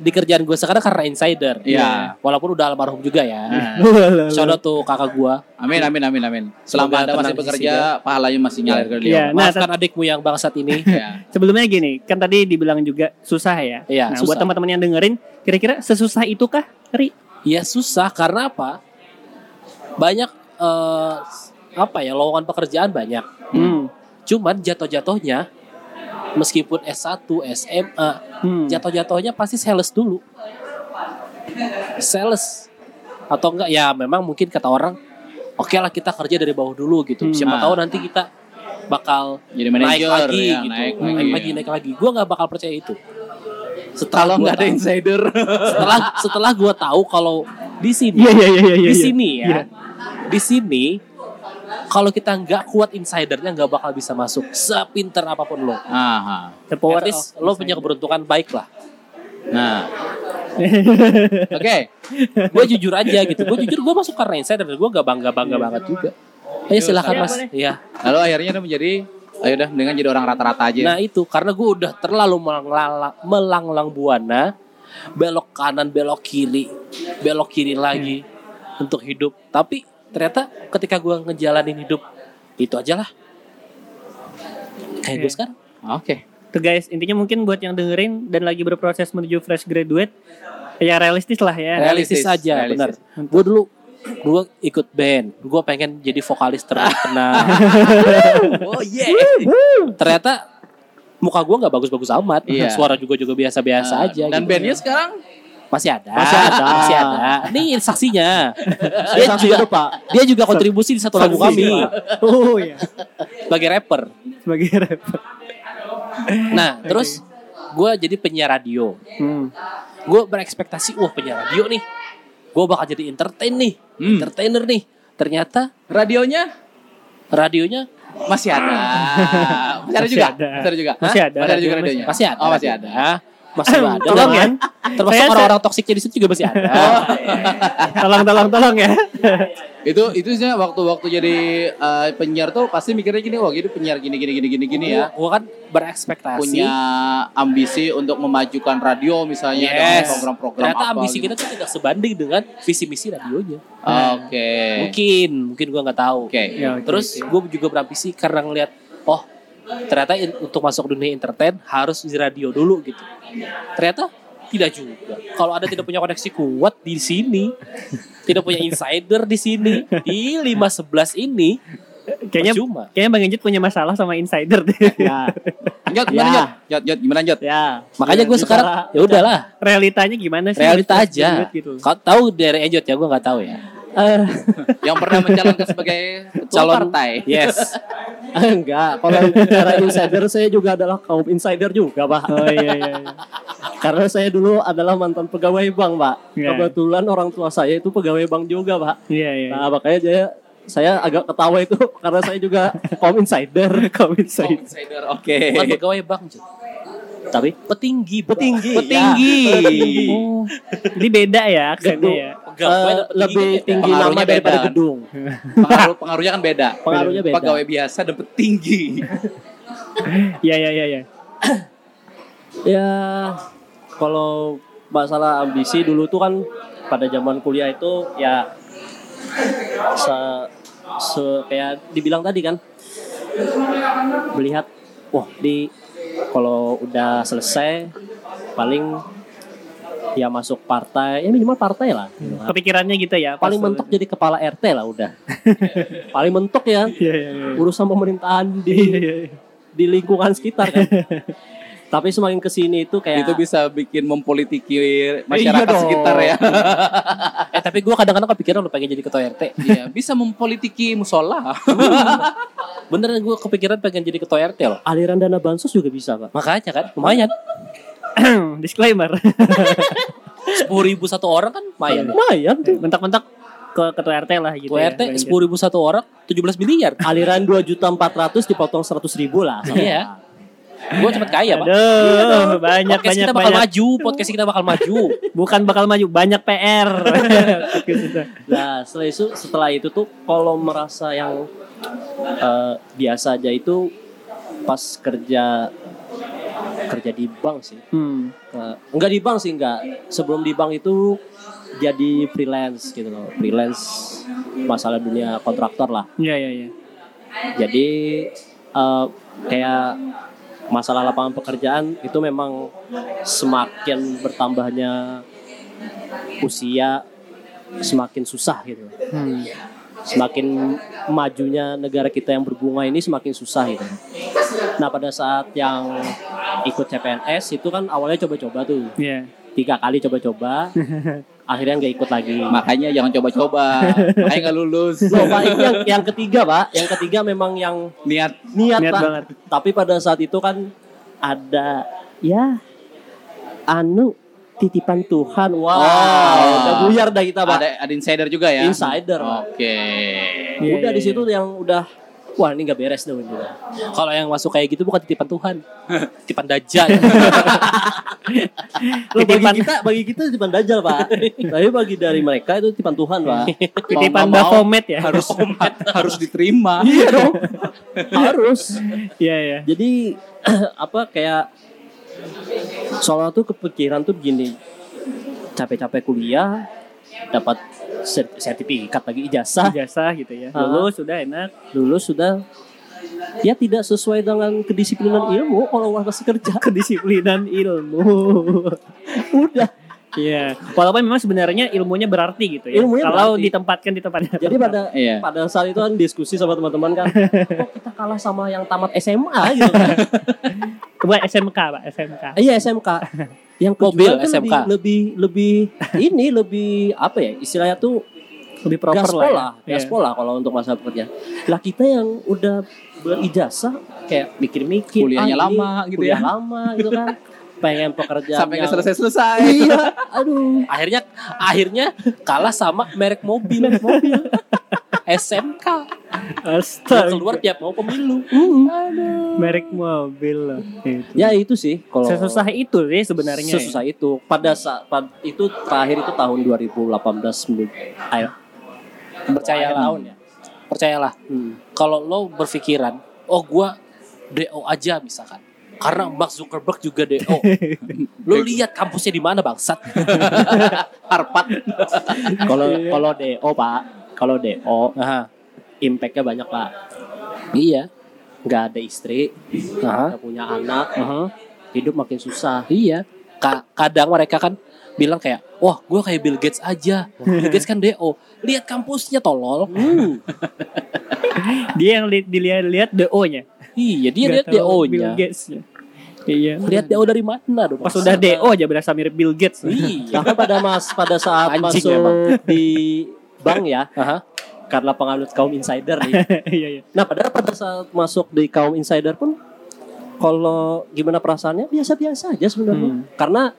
Speaker 2: di kerjaan gue sekarang karena insider Ya,
Speaker 4: Iya.
Speaker 2: walaupun udah almarhum juga ya
Speaker 4: nah.
Speaker 2: shout out tuh kakak gue
Speaker 4: Amin amin amin amin. Selama
Speaker 2: Semoga
Speaker 4: Anda masih
Speaker 2: tenang di
Speaker 4: bekerja, pahalanya masih ngalir ke
Speaker 3: Iya.
Speaker 4: dia.
Speaker 3: Nah,
Speaker 2: maafkan adikmu yang bangsat ini
Speaker 4: Iya.
Speaker 3: Sebelumnya gini, kan tadi dibilang juga susah ya.
Speaker 2: Iya,
Speaker 3: nah,
Speaker 2: susah.
Speaker 3: buat teman-teman yang dengerin, kira-kira sesusah itukah Ri?
Speaker 2: ya susah karena apa banyak eh, apa ya lowongan pekerjaan banyak
Speaker 3: Hmm.
Speaker 2: cuman jatuh jatuhnya meskipun S1, SMA,
Speaker 3: Hmm.
Speaker 2: jatuh-jatuhnya pasti sales dulu. Sales atau enggak ya memang mungkin kata orang oke lah kita kerja dari bawah dulu gitu.
Speaker 3: Hmm.
Speaker 2: Siapa
Speaker 4: Nah.
Speaker 2: tahu nanti kita bakal
Speaker 4: Jadi manajer,
Speaker 2: naik lagi
Speaker 4: ya,
Speaker 2: gitu.
Speaker 4: naik
Speaker 2: Naik,
Speaker 4: lagi,
Speaker 2: lagi,
Speaker 4: ya.
Speaker 2: naik lagi. Gua nggak bakal percaya itu.
Speaker 4: Kalau
Speaker 2: gua
Speaker 4: nggak ada
Speaker 2: tahu-
Speaker 4: insider.
Speaker 2: setelah setelah gua tahu kalau di sini
Speaker 3: Iya iya iya iya.
Speaker 2: di
Speaker 3: iya.
Speaker 2: sini ya.
Speaker 3: Iya.
Speaker 2: Di sini kalau kita nggak kuat insidernya nggak bakal bisa masuk sepinter apapun lo.
Speaker 4: <laughs> Aha.
Speaker 3: The power
Speaker 2: At least
Speaker 3: of
Speaker 2: lo punya keberuntungan baik lah.
Speaker 4: Nah, oke.
Speaker 2: Gue jujur
Speaker 3: <laughs>
Speaker 2: aja gitu. Gue jujur gue masuk karena insider dan gue nggak bangga bangga banget juga. Ayo silahkan
Speaker 3: Iya,
Speaker 2: mas.
Speaker 3: boleh.
Speaker 2: Iya.
Speaker 4: Lalu akhirnya dia menjadi, ayo udah dengan jadi orang rata-rata
Speaker 3: Iya.
Speaker 4: aja.
Speaker 2: Nah itu karena gue udah terlalu melanglang, melanglang buana, belok kanan, belok kiri, belok kiri lagi
Speaker 3: Iya.
Speaker 2: untuk hidup. Tapi ternyata ketika gue ngejalanin hidup itu aja lah. Kayak gue
Speaker 3: Iya.
Speaker 2: sekarang.
Speaker 4: Oke.
Speaker 3: Tuh guys, intinya mungkin buat yang dengerin dan lagi berproses menuju fresh graduate, ya realistis lah ya.
Speaker 2: Realistis,
Speaker 4: Realistis,
Speaker 2: aja, benar.
Speaker 4: realistis.
Speaker 2: Gue dulu gue ikut band, gue pengen jadi vokalis terkenal.
Speaker 4: <laughs> Oh yeah.
Speaker 2: ternyata muka gue nggak bagus-bagus amat,
Speaker 4: Iya.
Speaker 2: suara juga juga biasa-biasa aja.
Speaker 4: Ah, Dan
Speaker 2: gitu.
Speaker 4: bandnya sekarang
Speaker 2: Masih ada.
Speaker 1: Masih ada.
Speaker 2: Masih ada. Ini saksinya.
Speaker 4: <laughs>
Speaker 1: Dia saksi itu Pak.
Speaker 2: Dia juga kontribusi di satu lagu kami
Speaker 3: <laughs> Oh iya.
Speaker 2: sebagai rapper.
Speaker 3: Sebagai rapper.
Speaker 2: Nah, terus gue jadi penyiar radio.
Speaker 3: Hmm.
Speaker 2: Gue berekspektasi, wah penyiar radio nih. Gue bakal jadi entertain nih,
Speaker 4: Hmm.
Speaker 2: entertainer nih. Ternyata
Speaker 4: radionya
Speaker 2: radionya
Speaker 4: masih ada. Masih ada
Speaker 3: Masih
Speaker 4: juga.
Speaker 3: ada.
Speaker 4: Masih ada juga.
Speaker 3: Masih
Speaker 4: Hah?
Speaker 3: ada,
Speaker 4: Masih ada juga
Speaker 3: radio masih-
Speaker 4: radionya.
Speaker 2: masih ada.
Speaker 4: Oh, masih ada.
Speaker 2: radionya. Masih ada.
Speaker 3: Tolong ya.
Speaker 2: Termasuk
Speaker 3: Saya-
Speaker 2: orang-orang toksiknya di situ juga masih
Speaker 4: <laughs>
Speaker 2: ada.
Speaker 4: Oh,
Speaker 2: Ah.
Speaker 3: Tolong tolong tolong ya.
Speaker 2: <laughs>
Speaker 4: itu itu sih waktu-waktu jadi eh, penyiar tuh pasti mikirnya gini wah gini penyiar gini gini gini gini gini ya
Speaker 2: Gue kan berekspektasi.
Speaker 4: punya ambisi untuk memajukan radio misalnya dengan
Speaker 2: Yes.
Speaker 4: program-program
Speaker 2: Ternyata
Speaker 4: apa
Speaker 2: ambisi
Speaker 4: gitu.
Speaker 2: kita tuh tidak sebanding dengan visi misi radionya.
Speaker 4: oke
Speaker 2: Mungkin, mungkin gue nggak tahu.
Speaker 4: oke
Speaker 3: Ya, oke.
Speaker 2: Terus gue juga berambisi karena ngeliat, oh ternyata in- untuk masuk dunia entertain harus di radio dulu gitu. Ternyata tidak juga. Kalau anda tidak punya koneksi kuat di sini,
Speaker 1: <laughs>
Speaker 2: tidak punya insider di sini di 511 ini,
Speaker 3: Kayaknya
Speaker 2: percuma.
Speaker 3: kayaknya Bang Enjit punya masalah sama insider deh.
Speaker 1: <laughs> Ya.
Speaker 4: lanjut gimana
Speaker 1: Ya.
Speaker 4: lanjut jod jod gimana jod
Speaker 1: Ya.
Speaker 2: Makanya gue
Speaker 1: Bicara-
Speaker 2: sekarang ya udahlah
Speaker 3: Realitanya gimana sih?
Speaker 2: realita
Speaker 3: Fresh
Speaker 2: aja.
Speaker 3: graduate Gitu.
Speaker 2: Kau tahu dari Enjot ya gue nggak tahu ya.
Speaker 1: Eh, <laughs>
Speaker 4: yang pernah mencalonkan sebagai ketua
Speaker 2: Calon
Speaker 4: partai
Speaker 2: Yes.
Speaker 1: enggak, kalau bicara insider saya juga adalah kaum insider juga,
Speaker 2: <laughs>
Speaker 1: Pak.
Speaker 3: Oh iya iya. iya.
Speaker 1: Karena saya dulu adalah mantan pegawai bank, Pak.
Speaker 3: Ya.
Speaker 1: Kebetulan orang tua saya itu pegawai bank juga, Pak.
Speaker 3: Iya iya.
Speaker 2: <laughs>
Speaker 1: Nah, makanya saya saya agak ketawa itu <laughs> karena saya juga kaum insider, kaum
Speaker 4: Oh,
Speaker 1: insider.
Speaker 4: insider <laughs> oke
Speaker 2: Bukan pegawai bank, Jod.
Speaker 1: Tapi
Speaker 2: petinggi, Pak.
Speaker 1: Petinggi, ya.
Speaker 2: petinggi.
Speaker 3: Oh, jadi beda ya aksennya
Speaker 1: Gedung.
Speaker 3: ya.
Speaker 2: Pegawai
Speaker 1: eh,
Speaker 2: dan petinggi
Speaker 1: lebih tinggi
Speaker 2: ya. beda.
Speaker 4: Pengaruhnya
Speaker 1: nama
Speaker 4: beda,
Speaker 1: daripada
Speaker 4: kan?
Speaker 1: gedung.
Speaker 4: pengaruh pengaruhnya kan beda
Speaker 1: Pengaruhnya beda.
Speaker 4: pegawai biasa dan petinggi
Speaker 3: Iya iya iya. iya.
Speaker 1: Ya, kalau masalah ambisi dulu tuh kan pada zaman kuliah itu ya se, se- kayak dibilang tadi kan melihat wah di kalau udah selesai paling ya masuk partai ya minimal partai lah gitu kan.
Speaker 3: Kepikirannya gitu ya.
Speaker 1: paling
Speaker 3: pas-
Speaker 1: mentok jadi kepala RT lah udah paling mentok ya
Speaker 3: Iya iya iya.
Speaker 1: urusan pemerintahan
Speaker 3: Iya
Speaker 1: di
Speaker 3: iya. <clears throat> iya.
Speaker 1: di lingkungan sekitar kan tapi semakin kesini itu
Speaker 2: Ya.
Speaker 1: kayak
Speaker 4: itu bisa bikin mempolitiki masyarakat
Speaker 1: dong.
Speaker 4: sekitar ya
Speaker 2: Eh tapi gue kadang-kadang kepikiran lu pengen jadi ketua RT.
Speaker 4: Iya, bisa mempolitiki musola
Speaker 2: Beneran gue kepikiran pengen jadi ketua RT loh.
Speaker 1: aliran dana bansos juga bisa pak
Speaker 2: Makanya kan lumayan.
Speaker 3: Disclaimer.
Speaker 2: Sepuluh ribu satu orang kan lumayan.
Speaker 1: lumayan tuh
Speaker 3: Eh, Mentok-mentok ke ketua RT lah gitu.
Speaker 2: Ketua
Speaker 3: ya,
Speaker 2: RT
Speaker 3: Bang Enjit.
Speaker 2: sepuluh ribu satu orang, 17 miliar.
Speaker 1: Iya, aliran dua juta empat ratus dipotong seratus ribu lah
Speaker 2: Iya. Gue cepet kaya pak. Iya
Speaker 3: Aduh, banyak
Speaker 2: podcast
Speaker 3: banyak
Speaker 2: kita bakal
Speaker 3: banyak.
Speaker 2: maju, podcast kita bakal maju.
Speaker 3: Bukan bakal maju, banyak
Speaker 2: <laughs>
Speaker 3: PR.
Speaker 1: nah setelah itu setelah itu tuh kalau merasa yang eh, biasa aja itu pas kerja kerja di bank sih
Speaker 3: hmm.
Speaker 1: Nah, enggak di bank sih enggak. Sebelum di bank itu jadi freelance gitu loh. Freelance masalah dunia kontraktor lah.
Speaker 3: Iya iya iya.
Speaker 1: Jadi eh, kayak masalah lapangan pekerjaan itu memang semakin bertambahnya usia semakin susah gitu.
Speaker 3: Hmm.
Speaker 1: Semakin majunya negara kita yang berbunga ini semakin susah gitu. Nah pada saat yang ikut CPNS itu kan awalnya coba-coba tuh
Speaker 3: Iya.
Speaker 1: tiga kali
Speaker 4: <laughs>
Speaker 1: coba-coba, akhirnya nggak ikut lagi.
Speaker 4: Makanya jangan coba-coba. Makanya nggak lulus.
Speaker 2: Iya.
Speaker 1: Loh, Pak, itu yang, yang ketiga pak, yang ketiga memang yang
Speaker 4: Niat
Speaker 1: niat,
Speaker 3: Niat
Speaker 1: Pak.
Speaker 3: banget.
Speaker 1: Tapi pada saat itu kan ada ya anu titipan Tuhan. Wow,
Speaker 4: Oh.
Speaker 1: udah buyar dah kita pak.
Speaker 4: ada ada insider juga ya.
Speaker 1: Insider. Pak.
Speaker 4: Oke.
Speaker 3: Iya,
Speaker 1: udah
Speaker 3: iya,
Speaker 1: di situ yang udah wah ini nggak beres dong gitu. ini.
Speaker 2: Kalau yang masuk kayak gitu bukan titipan Tuhan,
Speaker 1: <laughs>
Speaker 2: titipan
Speaker 3: <laughs>
Speaker 2: dajal.
Speaker 1: Loh, bagi
Speaker 3: Titipan-
Speaker 1: kita bagi kita titipan dajal
Speaker 3: <laughs>
Speaker 1: pak. Tapi bagi dari mereka itu titipan Tuhan pak.
Speaker 3: Titipan
Speaker 4: Mau nggak
Speaker 3: Baphomet ya.
Speaker 4: harus <laughs> harus diterima.
Speaker 1: iya dong. Harus.
Speaker 3: Iya iya.
Speaker 1: Jadi <clears throat> apa kayak soalnya tuh kepikiran tuh begini capek-capek kuliah dapat ser- sertifikat lagi ijazah
Speaker 3: Jasa gitu ya.
Speaker 1: Ah.
Speaker 3: Lulus sudah enak.
Speaker 1: lulus sudah ya tidak sesuai dengan kedisiplinan ilmu kalau masih kerja
Speaker 3: <laughs> Kedisiplinan ilmu.
Speaker 1: udah
Speaker 3: Iya. Walaupun memang sebenarnya ilmunya berarti gitu ya.
Speaker 1: Ilmunya
Speaker 3: Kalau
Speaker 1: berarti.
Speaker 3: ditempatkan di tempatnya.
Speaker 1: jadi pada
Speaker 4: Iya.
Speaker 1: pada saat itu kan diskusi sama teman-teman
Speaker 3: <laughs>
Speaker 1: kan kok kita kalah sama yang tamat SMA gitu kan
Speaker 3: Coba SMK pak SMK.
Speaker 1: Iya SMK. Yang
Speaker 2: Mobil
Speaker 1: kedua kan
Speaker 2: SMK.
Speaker 1: Lebih, lebih lebih ini lebih apa ya istilahnya tuh
Speaker 3: Lebih proper
Speaker 1: gaspol lah,
Speaker 3: lah. ya. Iya.
Speaker 1: gaspol lah kalau untuk masa pekerjaan. Lah kita yang udah berijazah kayak mikir-mikir "Ah,
Speaker 4: Kuliahnya
Speaker 1: ini
Speaker 4: lama gitu
Speaker 1: kuliah
Speaker 4: ya.
Speaker 1: lama gitu
Speaker 4: <laughs>
Speaker 1: kan. Pengen
Speaker 2: Iya,
Speaker 1: pekerjaan
Speaker 4: Sampai nggak
Speaker 1: yang-
Speaker 4: selesai-selesai.
Speaker 1: Iya, aduh.
Speaker 2: akhirnya akhirnya kalah sama merek mobil, <laughs> mobil. SMK Yang
Speaker 3: Astaga.
Speaker 2: keluar tiap mau pemilu.
Speaker 3: Merek mobil loh. Gitu.
Speaker 1: Ya itu sih kalau
Speaker 3: Sesusah itu sih sebenarnya. ya.
Speaker 1: sesusah itu pada saat pad- itu terakhir itu tahun 2018 menurut- akhir
Speaker 2: Percayalah.
Speaker 1: akhir tahun ya.
Speaker 2: Percayalah,
Speaker 1: Hmm.
Speaker 2: kalau lo berpikiran, oh gua DO aja misalkan. Karena Mark Zuckerberg juga DO. lo lihat kampusnya di mana bangsat?
Speaker 4: Arpat.
Speaker 1: Kalau kalau DO Pak, kalau DO
Speaker 2: Aha,
Speaker 1: impactnya banyak Pak.
Speaker 2: iya.
Speaker 1: Nggak ada istri,
Speaker 2: Aha,
Speaker 1: nggak punya anak,
Speaker 2: aha.
Speaker 1: hidup makin susah.
Speaker 2: Iya. Ka- kadang mereka kan bilang kayak, wah gue kayak Bill Gates aja. Bill Gates kan DO. Lihat kampusnya tolol.
Speaker 1: Hmm.
Speaker 3: Dia yang li- dilihat-lihat DO-nya.
Speaker 2: Iya dia lihat
Speaker 3: Bill
Speaker 2: DO-nya.
Speaker 3: Gates-nya. Iya.
Speaker 2: Lihat DO dari mana dong?
Speaker 3: Pas udah
Speaker 2: bangsat?
Speaker 3: DO aja berasa mirip Bill Gates. <laughs>
Speaker 2: Iya.
Speaker 1: Bahkan pada mas pada saat
Speaker 2: Anjing
Speaker 1: masuk
Speaker 2: emang.
Speaker 1: di bank ya,
Speaker 2: Aha.
Speaker 1: karena pengalut kaum insider nih.
Speaker 3: Iya iya.
Speaker 1: Nah padahal pada saat masuk di kaum insider pun, kalau gimana perasaannya biasa-biasa aja sebenarnya.
Speaker 3: Hmm.
Speaker 1: Karena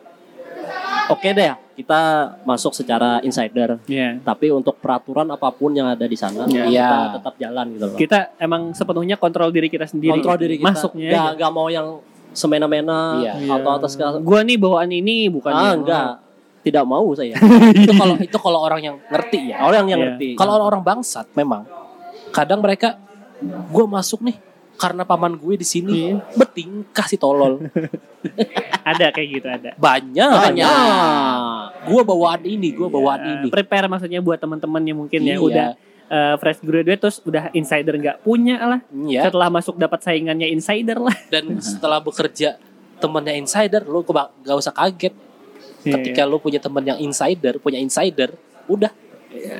Speaker 1: oke deh kita masuk secara insider,
Speaker 3: Iya.
Speaker 1: tapi untuk peraturan apapun yang ada di sana
Speaker 3: Iya.
Speaker 1: kita tetap jalan gitu loh.
Speaker 3: Kita emang sepenuhnya kontrol diri kita sendiri. gitu.
Speaker 1: kontrol diri kita.
Speaker 3: Masuknya.
Speaker 1: Nggak- nggak mau yang semena-mena
Speaker 2: Iya.
Speaker 1: atau atas segala.
Speaker 3: Iya. Gua nih bawaan ini bukan
Speaker 1: Ah,
Speaker 3: yang-
Speaker 1: enggak. Tidak mau saya.
Speaker 2: <laughs> itu
Speaker 1: <laughs>
Speaker 2: kalau itu kalau orang yang ngerti ya.
Speaker 1: Orang yang
Speaker 3: Iya.
Speaker 1: ngerti.
Speaker 2: Kalau orang-orang bangsat memang kadang mereka gue masuk nih karena paman gue di sini
Speaker 3: Iya.
Speaker 2: betingkah si tolol
Speaker 1: <laughs>
Speaker 3: Ada kayak gitu ada.
Speaker 2: banyak
Speaker 1: Banyak.
Speaker 2: gue bawaan ini gue
Speaker 1: Iya.
Speaker 2: bawaan
Speaker 3: Eh,
Speaker 2: ini
Speaker 3: prepare maksudnya buat teman-teman yang mungkin
Speaker 2: Iya.
Speaker 3: ya udah eh, fresh graduate terus udah insider nggak punya lah.
Speaker 2: ya
Speaker 3: Setelah masuk dapat saingannya insider lah.
Speaker 2: dan setelah bekerja temennya insider lo keba- gak usah kaget
Speaker 1: Iya,
Speaker 2: Iya.
Speaker 3: <laughs>
Speaker 2: ketika lo punya temen yang insider punya insider udah
Speaker 1: Iya.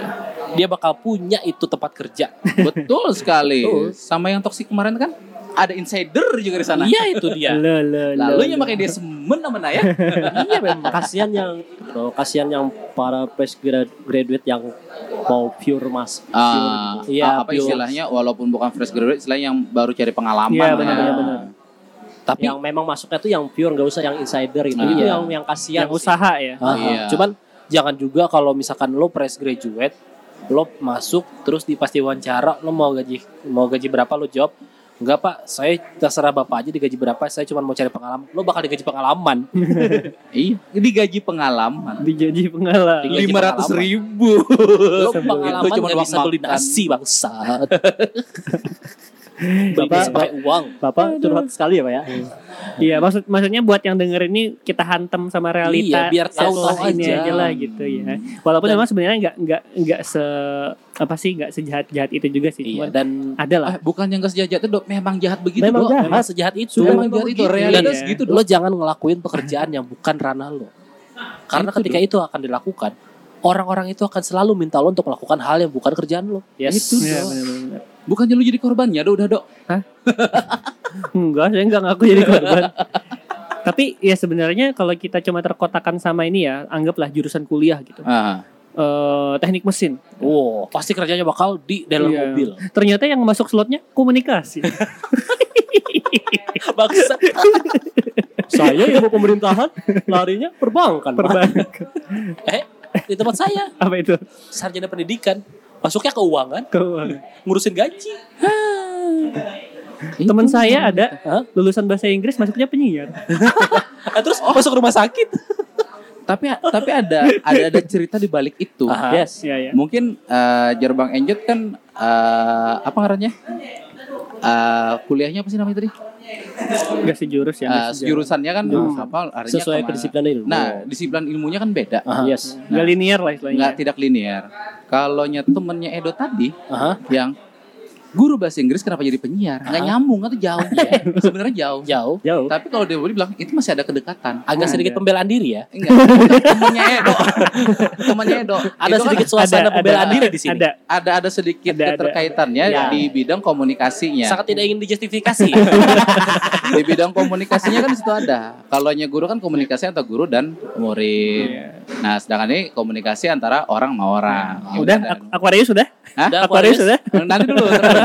Speaker 2: dia bakal punya itu tempat kerja
Speaker 1: <laughs>
Speaker 4: Betul sekali.
Speaker 2: Betul.
Speaker 4: Sama yang toksik kemarin kan ada insider juga di sana.
Speaker 2: iya itu <laughs> dia
Speaker 3: Lo, lo, lo,
Speaker 4: Lalu yang
Speaker 3: lo.
Speaker 4: makanya dia semen sama Naya.
Speaker 1: iya memang. Kasihan yang loh, kasihan yang para fresh grad- graduate yang mau pure mas.
Speaker 4: Ah,
Speaker 1: pure. Iya,
Speaker 4: apa
Speaker 1: pure.
Speaker 4: istilahnya walaupun bukan fresh graduate istilahnya yang baru cari pengalaman. ya.
Speaker 3: Iya, benar-benar.
Speaker 2: tapi
Speaker 1: Yang memang masuknya tuh yang pure nggak usah yang insider gitu.
Speaker 4: Nah.
Speaker 1: Itu yang yang kasihan
Speaker 3: yang usaha ya.
Speaker 2: Ah,
Speaker 4: Iya.
Speaker 2: Cuman jangan juga kalau misalkan lo fresh graduate, lo masuk terus dipasti wawancara, lo mau gaji mau gaji berapa lo jawab. Enggak pak, saya terserah bapak aja digaji berapa, saya cuma mau cari pengalaman. Lo bakal digaji pengalaman.
Speaker 4: Iya, digaji pengalaman.
Speaker 3: Dijanji pengalaman.
Speaker 2: Digaji
Speaker 4: Lima ratus
Speaker 2: pengalaman.
Speaker 4: ribu.
Speaker 2: Lo
Speaker 4: Sebelum
Speaker 2: pengalaman
Speaker 4: itu cuma
Speaker 2: nggak bisa
Speaker 4: uang
Speaker 2: beli
Speaker 4: makan.
Speaker 2: nasi bangsa.
Speaker 1: <laughs> Bapak-
Speaker 2: Bapak pakai uang.
Speaker 1: Bapak curhat sekali ya Pak ya.
Speaker 3: Iya, maksud maksudnya buat yang denger ini kita hantem sama
Speaker 2: Iya,
Speaker 3: realita.
Speaker 2: biar tahu
Speaker 3: setelah
Speaker 2: tahu
Speaker 3: ini
Speaker 2: aja.
Speaker 3: aja lah gitu ya. Walaupun memang sebenarnya nggak nggak nggak se apa sih nggak sejahat-jahat itu juga sih.
Speaker 2: Iya,
Speaker 3: Cuman
Speaker 2: dan
Speaker 3: ada lah.
Speaker 4: Ah, bukan yang gak sejahat itu, dok. Memang jahat begitu,
Speaker 1: Memang
Speaker 4: dok.
Speaker 1: jahat.
Speaker 2: memang sejahat itu.
Speaker 4: Sudah memang
Speaker 2: Memang
Speaker 4: jahat itu
Speaker 2: begitu. Dan
Speaker 4: realitas
Speaker 3: Iya.
Speaker 4: gitu, dok.
Speaker 2: lo jangan ngelakuin pekerjaan yang bukan ranah lo. Karena ketika itu akan dilakukan, orang-orang itu akan selalu minta lo untuk melakukan hal yang bukan kerjaan lo.
Speaker 1: Yes.
Speaker 4: Itu
Speaker 3: Iya,
Speaker 4: dok.
Speaker 3: benar-benar.
Speaker 4: Bukannya lu jadi korbannya, dok, udah dok.
Speaker 3: Enggak, saya enggak ngaku jadi korban. <laughs> Tapi ya sebenarnya kalau kita cuma terkotakan sama ini ya, anggaplah jurusan kuliah gitu.
Speaker 4: Ah,
Speaker 3: Eh, teknik mesin.
Speaker 2: Wow, pasti kerjanya bakal di dalam
Speaker 3: Iya.
Speaker 2: mobil. <laughs>
Speaker 3: Ternyata yang masuk slotnya komunikasi.
Speaker 2: Bangsa.
Speaker 1: <laughs> Saya ilmu pemerintahan, larinya perbankan. Pak.
Speaker 3: Perban
Speaker 2: Eh, di tempat saya
Speaker 3: <laughs> apa itu?
Speaker 2: sarjana pendidikan masuknya keuangan,
Speaker 3: Keuangan.
Speaker 2: ngurusin gaji.
Speaker 3: Teman saya ada
Speaker 2: Hah?
Speaker 3: lulusan bahasa Inggris masuknya penyiar.
Speaker 2: Eh, terus masuk rumah sakit.
Speaker 4: tapi tapi ada ada ada cerita di balik itu. Ya.
Speaker 2: Aha.
Speaker 1: Yes.
Speaker 3: Iya, iya.
Speaker 4: Mungkin eh, Jerbang Enjot kan eh, apa ngarannya? Eh, kuliahnya apa sih namanya tadi?
Speaker 3: Enggak sejurus ya.
Speaker 4: Eh,
Speaker 3: enggak sejurus.
Speaker 4: jurusannya kan
Speaker 3: Jurusan.
Speaker 4: apa? Larinya
Speaker 1: Sesuai
Speaker 4: kemana.
Speaker 1: kedisiplinan ilmu.
Speaker 4: Nah, disiplin ilmunya kan beda.
Speaker 2: Ah.
Speaker 1: Aha. Yes.
Speaker 3: Enggak linear lah
Speaker 4: Nggak
Speaker 3: istilahnya.
Speaker 4: tidak linier. Kalau nya temennya Edo tadi
Speaker 1: Aha.
Speaker 4: yang guru bahasa Inggris kenapa jadi penyiar? Nggak nyambung kan itu jauh. Sebenarnya jauh. Nah,
Speaker 2: Jauh.
Speaker 1: Jauh.
Speaker 4: Tapi kalau dia boleh bilang itu masih ada kedekatan.
Speaker 2: Agak
Speaker 3: Ada.
Speaker 2: sedikit pembelaan diri ya.
Speaker 4: Enggak, temennya Edo. temennya Edo.
Speaker 2: Ada
Speaker 4: Edo kan
Speaker 2: sedikit suasana
Speaker 3: ada,
Speaker 2: pembelaan
Speaker 4: ada.
Speaker 2: diri di sini.
Speaker 3: Ada.
Speaker 4: ada ada sedikit
Speaker 3: Ada, ada.
Speaker 4: keterkaitannya
Speaker 1: Ya.
Speaker 4: di bidang komunikasinya.
Speaker 2: Sangat tidak ingin dijustifikasi. <laughs>
Speaker 4: Di bidang komunikasinya kan di situ ada. Kalau nya guru kan komunikasi antara guru dan murid.
Speaker 3: Iya.
Speaker 4: Nah,
Speaker 3: Nah,
Speaker 4: sedangkan ini komunikasi antara orang sama orang. Ya
Speaker 3: Udah,
Speaker 4: dan-
Speaker 3: Ak- Aquarius sudah?
Speaker 4: Hah?
Speaker 2: Udah,
Speaker 3: Aquarius sudah?
Speaker 4: Nanti dulu. terus.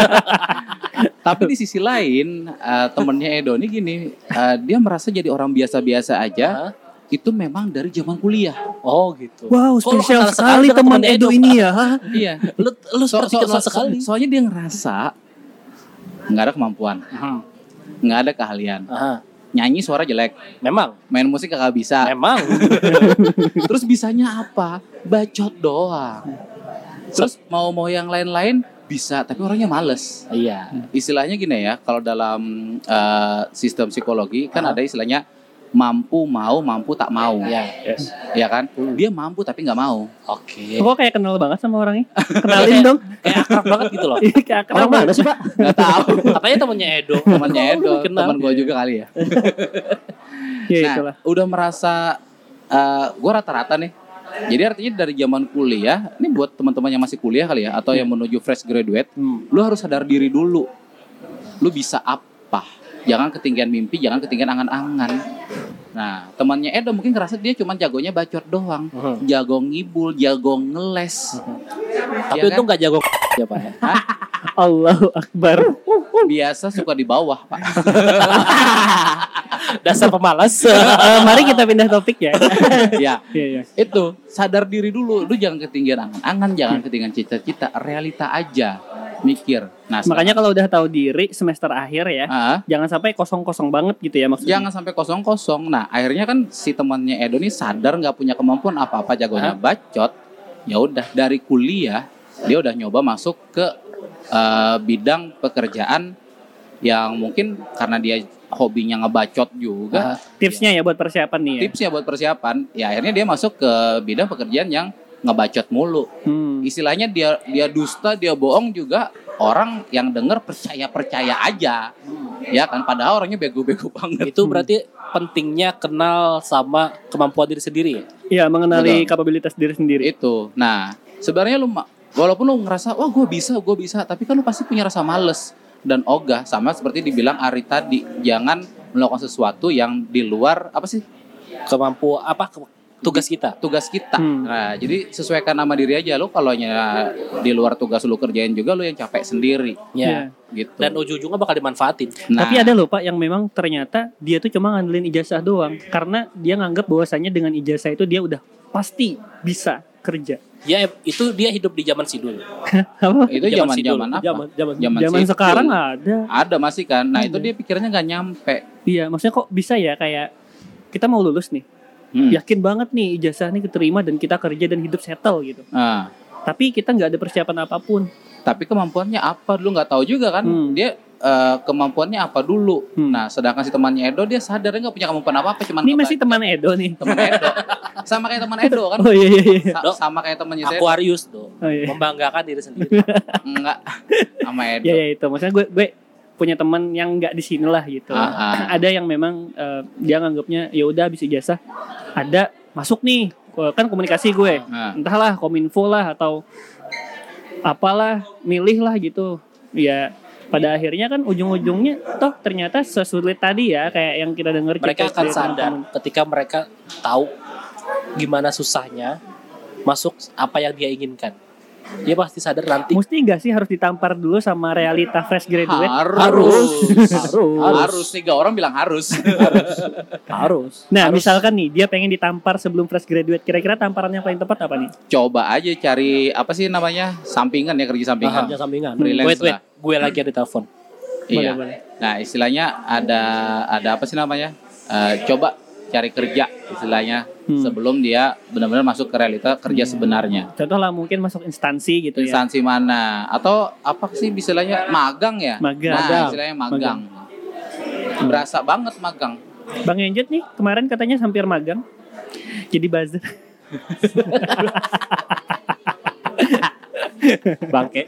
Speaker 4: Tapi di sisi lain, eh, temennya Edo ini gini, eh, dia merasa jadi orang biasa-biasa aja. Itu memang dari zaman kuliah.
Speaker 2: Oh gitu.
Speaker 3: Wow,
Speaker 2: Kok lu
Speaker 3: spesial
Speaker 2: kenal
Speaker 3: sekali
Speaker 2: dengan
Speaker 3: teman Edo ini ya.
Speaker 4: Iya.
Speaker 2: Lu, lu Oh,
Speaker 4: So-
Speaker 2: seperti
Speaker 4: so-
Speaker 2: kenal
Speaker 4: so-
Speaker 2: sekali.
Speaker 4: Soalnya dia ngerasa nggak ada kemampuan, nggak ada keahlian.
Speaker 2: Aha.
Speaker 4: Nyanyi suara jelek,
Speaker 1: Memang.
Speaker 4: main musik
Speaker 2: Ah.
Speaker 4: kagak
Speaker 2: <laughs>
Speaker 4: bisa.
Speaker 1: Memang.
Speaker 4: Terus bisanya apa? Bacot doang. Terus mau mau yang lain-lain bisa, tapi orangnya males.
Speaker 1: Iya.
Speaker 4: Istilahnya gini ya, kalau dalam eh, sistem psikologi kan ada istilahnya mampu mau mampu tak mau
Speaker 2: iya.
Speaker 4: ya
Speaker 1: Yes.
Speaker 4: ya kan
Speaker 2: Hmm.
Speaker 4: dia mampu tapi nggak mau
Speaker 2: <laughs> Oke.
Speaker 3: Kok kayak kenal banget sama orangnya? Kenalin dong.
Speaker 2: Kayak akrab banget gitu
Speaker 3: <laughs>
Speaker 2: loh.
Speaker 3: Ih, kayak kenal
Speaker 1: Orang mana
Speaker 3: banget.
Speaker 1: sih Pak?
Speaker 4: nggak tahu
Speaker 2: <laughs> Katanya temennya Edo.
Speaker 4: temannya
Speaker 2: Kok
Speaker 4: Edo
Speaker 2: lu kenal?
Speaker 4: teman gue juga kali ya
Speaker 3: Ya
Speaker 4: nah,
Speaker 3: itulah.
Speaker 4: udah merasa gue rata-rata nih. Jadi artinya dari zaman kuliah, ini buat teman-teman yang masih kuliah kali ya, atau yang menuju fresh graduate,
Speaker 1: Hmm.
Speaker 4: lu harus sadar diri dulu. Lu bisa apa? Jangan ketinggian mimpi, jangan ketinggian angan-angan. Nah, temannya Edo mungkin ngerasa dia cuma jagonya bacot doang,
Speaker 1: Mhm.
Speaker 4: jago ngibul, jago ngeles.
Speaker 2: Tapi
Speaker 4: Iya
Speaker 2: untung
Speaker 4: kan?
Speaker 2: gak jago ya Pak ya.
Speaker 3: Allahu Akbar.
Speaker 4: biasa suka di bawah, Pak.
Speaker 2: Dasar pemalas.
Speaker 3: <laughs> Eh, mari kita pindah topik ya.
Speaker 4: ya,
Speaker 3: Iya, iya.
Speaker 4: itu sadar diri dulu lu jangan ketinggian angan-angan jangan ketinggian cita-cita realita aja mikir nah sekarang-
Speaker 3: Makanya kalau udah tahu diri semester akhir ya,
Speaker 4: Ah,
Speaker 3: jangan sampai kosong-kosong banget gitu ya maksudnya.
Speaker 4: jangan sampai kosong kosong nah akhirnya kan si temannya Edo nih sadar nggak punya kemampuan apa-apa jagonya bacot ya udah dari kuliah dia udah nyoba masuk ke eh, bidang pekerjaan yang mungkin karena dia hobinya ngebacot juga
Speaker 3: Tipsnya ya buat persiapan nih ya.
Speaker 4: tipsnya buat persiapan ya akhirnya dia masuk ke bidang pekerjaan yang ngebacot mulu
Speaker 3: Hmm.
Speaker 4: istilahnya dia dia dusta dia bohong juga orang yang denger percaya percaya aja ya kan padahal orangnya bego-bego <laughs> banget
Speaker 2: Itu berarti pentingnya kenal sama kemampuan diri sendiri ya.
Speaker 3: Ya mengenali
Speaker 4: Betul.
Speaker 3: kapabilitas diri sendiri.
Speaker 4: itu nah sebenarnya lu ma- walaupun lu ngerasa wah gue bisa gue bisa tapi kan lu pasti punya rasa males dan ogah sama seperti dibilang Ari tadi jangan melakukan sesuatu yang di luar apa sih
Speaker 2: Kemampuan apa ke- tugas kita.
Speaker 4: tugas kita
Speaker 3: Hmm.
Speaker 4: nah jadi sesuaikan nama diri aja lu kalau nya di luar tugas lu kerjain juga lu yang capek sendiri
Speaker 2: Ya.
Speaker 3: Iya.
Speaker 4: gitu
Speaker 2: Dan ujung-ujungnya bakal dimanfaatin.
Speaker 4: Nah,
Speaker 3: Tapi ada loh Pak yang memang ternyata dia tuh cuma ngandelin ijazah doang karena dia nganggap bahwasannya dengan ijazah itu dia udah pasti bisa kerja.
Speaker 2: Ya itu dia hidup di zaman sidul.
Speaker 3: Apa?
Speaker 2: zaman
Speaker 4: itu zaman-zaman
Speaker 2: sidul.
Speaker 4: apa
Speaker 1: Zaman zaman.
Speaker 4: Zaman
Speaker 3: Zaman
Speaker 4: sipil.
Speaker 3: sekarang ada.
Speaker 4: Ada masih kan. Nah, itu
Speaker 3: Ada.
Speaker 4: dia pikirannya nggak nyampe.
Speaker 3: Iya, maksudnya kok bisa ya kayak kita mau lulus nih.
Speaker 4: Hmm.
Speaker 3: Yakin banget nih ijazah nih keterima dan kita kerja dan hidup settle gitu.
Speaker 4: Nah,
Speaker 3: Tapi kita nggak ada persiapan apapun.
Speaker 4: tapi kemampuannya apa dulu nggak tahu juga kan.
Speaker 3: Hmm.
Speaker 4: Dia eh, kemampuannya apa dulu.
Speaker 3: Hmm.
Speaker 4: Nah, sedangkan si temannya Edo dia sadar dia nggak punya kemampuan apa-apa cuman
Speaker 3: Ini
Speaker 4: keba-
Speaker 3: masih teman Edo nih.
Speaker 4: teman Edo. sama kayak teman Edo kan.
Speaker 3: Oh iya iya iya.
Speaker 4: Sa-
Speaker 2: Dok.
Speaker 4: sama kayak temannya saya.
Speaker 2: Aquarius tuh.
Speaker 3: Oh, iya.
Speaker 2: Membanggakan diri sendiri.
Speaker 4: Enggak.
Speaker 3: <laughs>
Speaker 4: Sama Edo.
Speaker 3: Ya, ya itu maksudnya gue gue punya teman yang nggak di sini lah gitu.
Speaker 4: Ah, ah.
Speaker 3: <clears throat> ada yang memang eh, dia nganggapnya ya udah habis ijazah ada masuk nih Eh, kan komunikasi gue
Speaker 4: Nah,
Speaker 3: entahlah kominfo lah atau apalah milih lah gitu ya pada akhirnya kan ujung-ujungnya toh ternyata sesulit tadi ya kayak yang <laughs> kita dengar
Speaker 2: mereka
Speaker 3: cerita
Speaker 2: akan
Speaker 3: dari
Speaker 2: sadar
Speaker 3: teman-teman.
Speaker 2: ketika mereka tahu gimana susahnya masuk apa yang dia inginkan. Dia pasti sadar nanti
Speaker 3: Mesti nggak sih harus ditampar dulu sama realita fresh graduate?
Speaker 4: Harus.
Speaker 2: Harus.
Speaker 4: Harus. Harus. Tiga orang bilang
Speaker 3: <laughs>
Speaker 4: harus.
Speaker 1: harus
Speaker 3: Nah,
Speaker 2: Harus.
Speaker 3: misalkan nih dia pengen ditampar sebelum fresh graduate, kira-kira tamparannya yang paling tepat apa nih?
Speaker 4: Coba aja cari apa sih namanya sampingan ya kerja sampingan.
Speaker 1: kerja sampingan
Speaker 4: Freelance
Speaker 2: wait wait
Speaker 4: lah.
Speaker 2: gue lagi ada telepon.
Speaker 4: Iya.
Speaker 3: Boleh, boleh.
Speaker 4: Nah istilahnya ada ada apa sih namanya? Eh, coba cari kerja istilahnya
Speaker 3: Hmm.
Speaker 4: sebelum dia benar-benar masuk ke realita kerja sebenarnya.
Speaker 3: Contoh lah mungkin masuk instansi gitu ya.
Speaker 4: Instansi mana? Atau apa sih istilahnya magang ya?
Speaker 3: Magang.
Speaker 4: Nah,
Speaker 3: Magang. Hmm.
Speaker 4: istilahnya magang. Berasa banget magang.
Speaker 3: Bang Enjet nih kemarin katanya hampir magang. Jadi buzzer. <laughs>
Speaker 1: bangke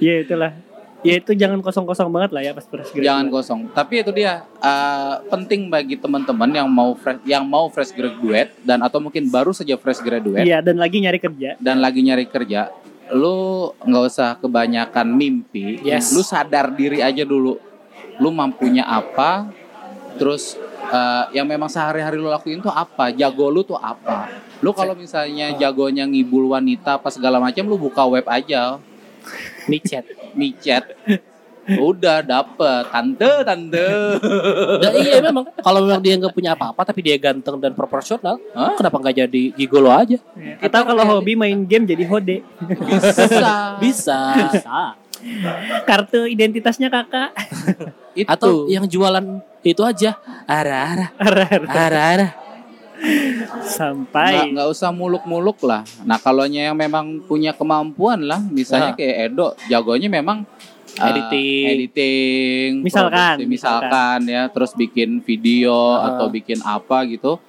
Speaker 3: ya itulah. Ya itu jangan kosong-kosong banget lah ya pas fresh graduate.
Speaker 4: Jangan kosong. Tapi itu dia eh, penting bagi teman-teman yang mau fresh yang mau fresh graduate dan atau mungkin baru saja fresh graduate
Speaker 3: Iya, dan lagi nyari kerja.
Speaker 4: dan lagi nyari kerja. Lu nggak usah kebanyakan mimpi.
Speaker 2: Yes.
Speaker 4: Lu sadar diri aja dulu. Lu mampunya apa? Terus eh, yang memang sehari-hari lu lakuin tuh apa? Jago lu tuh apa? Lu kalau misalnya jagonya ngibul wanita apa segala macam lu buka web aja.
Speaker 2: Micet. <laughs>
Speaker 4: micet udah dapet tante tante
Speaker 2: Dan iya memang kalau memang dia nggak punya apa-apa tapi dia ganteng dan proporsional,
Speaker 4: Hah?
Speaker 2: kenapa nggak jadi gigolo aja?
Speaker 3: Atau kalau hobi main game jadi hode.
Speaker 4: bisa
Speaker 2: Bisa.
Speaker 1: bisa
Speaker 3: Kartu identitasnya kakak. <laughs>
Speaker 4: itu
Speaker 2: Atau yang jualan itu aja. Arah-arah, arah-arah.
Speaker 4: nggak
Speaker 3: Sampai.
Speaker 4: nggak usah muluk-muluk lah nah kalau yang memang punya kemampuan lah misalnya
Speaker 2: Nah.
Speaker 4: kayak Edo jagonya memang eh,
Speaker 2: Editing.
Speaker 4: editing
Speaker 3: Misalkan,
Speaker 4: produksi, misalkan ya terus bikin video
Speaker 2: Ah.
Speaker 4: atau bikin apa gitu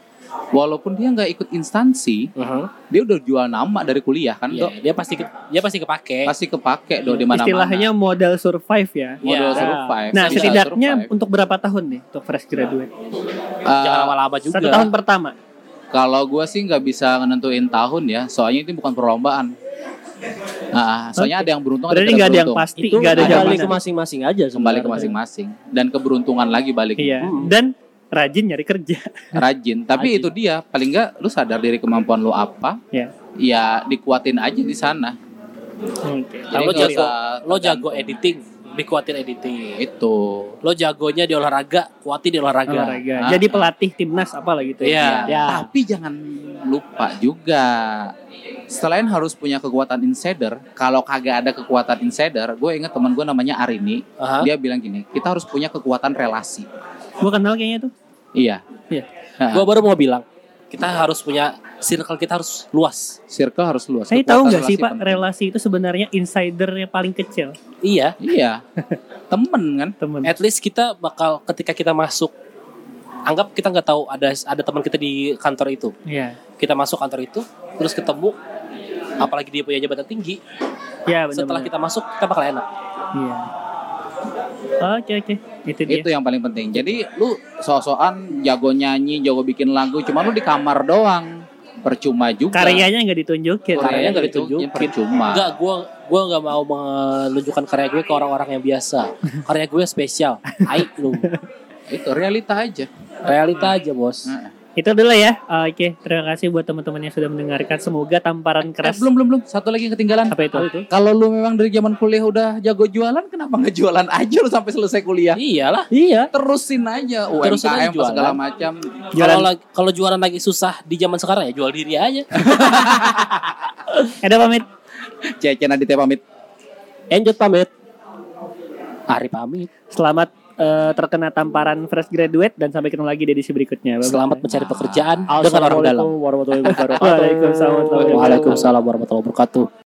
Speaker 4: walaupun dia nggak ikut instansi
Speaker 2: Mhm.
Speaker 4: dia udah jual nama dari kuliah kan
Speaker 2: Iya,
Speaker 4: dok
Speaker 2: dia pasti ke- dia pasti kepake.
Speaker 4: pasti kepake dok di mana
Speaker 3: Istilahnya modal survive ya.
Speaker 4: modal
Speaker 2: Iya.
Speaker 4: survive
Speaker 3: Nah,
Speaker 4: modal
Speaker 3: setidaknya
Speaker 4: survive. Iya.
Speaker 3: untuk berapa tahun nih untuk fresh graduate?
Speaker 2: Jangan
Speaker 4: Eh,
Speaker 2: lama-lama juga.
Speaker 3: Satu tahun pertama.
Speaker 4: Kalau gua sih nggak bisa nentuin tahun ya, soalnya itu bukan perlombaan. Nah, soalnya ada yang beruntung,
Speaker 3: Berarti
Speaker 4: yang
Speaker 3: nggak ada yang
Speaker 4: beruntung.
Speaker 3: pasti,
Speaker 1: itu
Speaker 3: nggak ada
Speaker 1: kembali ke
Speaker 3: jaminan.
Speaker 1: masing-masing aja
Speaker 4: Kembali ke
Speaker 1: sebenarnya.
Speaker 4: masing-masing dan keberuntungan lagi balik
Speaker 3: Iya. Dan rajin nyari kerja. <laughs>
Speaker 4: rajin. Tapi
Speaker 1: Rajin.
Speaker 4: itu dia, paling nggak lu sadar dari kemampuan lu apa,
Speaker 3: Iya.
Speaker 4: ya dikuatin aja di sana.
Speaker 3: Oke.
Speaker 4: Jadi
Speaker 2: Lo
Speaker 4: nggak
Speaker 2: jago,
Speaker 4: usah
Speaker 2: lo jago
Speaker 4: tergantung.
Speaker 2: editing, dikuatin editing.
Speaker 4: Itu.
Speaker 2: lo jagonya di olahraga, kuatin di olahraga.
Speaker 3: Olahraga.
Speaker 4: Ah.
Speaker 3: Jadi pelatih timnas apalah gitu
Speaker 2: Iya.
Speaker 1: Ya.
Speaker 4: Tapi jangan lupa juga. Selain harus punya kekuatan insider, kalau kagak ada kekuatan insider, gue inget teman gue namanya Arini,
Speaker 2: Aha.
Speaker 4: dia bilang gini, kita harus punya kekuatan relasi.
Speaker 3: Gua kenal kayaknya tuh.
Speaker 4: Iya.
Speaker 3: Iya.
Speaker 4: Nah,
Speaker 2: Gua baru mau bilang, kita harus punya circle kita harus luas.
Speaker 4: circle harus luas.
Speaker 3: Saya
Speaker 4: Kekuatan
Speaker 3: tahu nggak sih
Speaker 4: relasi
Speaker 3: Pak,
Speaker 4: penting.
Speaker 3: relasi itu sebenarnya insidernya paling kecil,
Speaker 2: Iya,
Speaker 4: Iya. Temen kan?
Speaker 3: teman.
Speaker 2: at least kita bakal ketika kita masuk anggap kita nggak tahu ada ada teman kita di kantor itu.
Speaker 3: Iya.
Speaker 2: Kita masuk kantor itu terus ketemu apalagi dia punya jabatan tinggi,
Speaker 3: Iya, benar.
Speaker 2: setelah kita masuk kita bakal enak.
Speaker 3: Iya. Oke, oke. Itu dia.
Speaker 4: Itu yang paling penting. Jadi lu sosokan jago nyanyi, jago bikin lagu, cuma lu di kamar doang. Percuma juga.
Speaker 3: Karyanya gitu ya. Iya, nggak ditunjukin.
Speaker 4: Karyanya nggak
Speaker 2: Karyanya
Speaker 4: ditunjukin, percuma.
Speaker 2: Enggak, gua gua nggak mau menunjukkan karya gue ke orang-orang yang biasa. Karya gue spesial. Aik lu.
Speaker 4: Itu realita aja. Eh,
Speaker 2: Realita aja, Bos.
Speaker 3: Itu dulu ya. Oke, terima kasih buat teman-teman yang sudah mendengarkan. Semoga
Speaker 4: Eh,
Speaker 3: tamparan keras
Speaker 4: belum belum belum. Satu lagi yang ketinggalan.
Speaker 3: apa itu?
Speaker 4: Kalau lu memang dari zaman kuliah udah jago jualan, kenapa nggak jualan aja lu sampai selesai kuliah?
Speaker 2: Iyalah.
Speaker 1: iya
Speaker 4: Terusin aja
Speaker 2: Terusin aja
Speaker 4: UMKM apa
Speaker 2: jualan.
Speaker 4: segala macam.
Speaker 2: Kalau
Speaker 3: Jualan.
Speaker 2: lagi- kalau jualan lagi susah di zaman sekarang ya jual diri aja.
Speaker 3: Ada pamit.
Speaker 4: Cece Aditya pamit.
Speaker 1: Enjot pamit
Speaker 2: Arif pamit.
Speaker 3: Selamat eh, terkena tamparan fresh graduate dan sampai ketemu lagi di edisi berikutnya. Bye-bye.
Speaker 2: Iya, Selamat mencari pekerjaan dengan orang dalam.
Speaker 1: warahmatullahi wabarakatuh
Speaker 2: <laughs>
Speaker 3: Waalaikumsalam warahmatullahi wabarakatuh.
Speaker 2: Waalaikumsalam warahmatullahi wabarakatuh.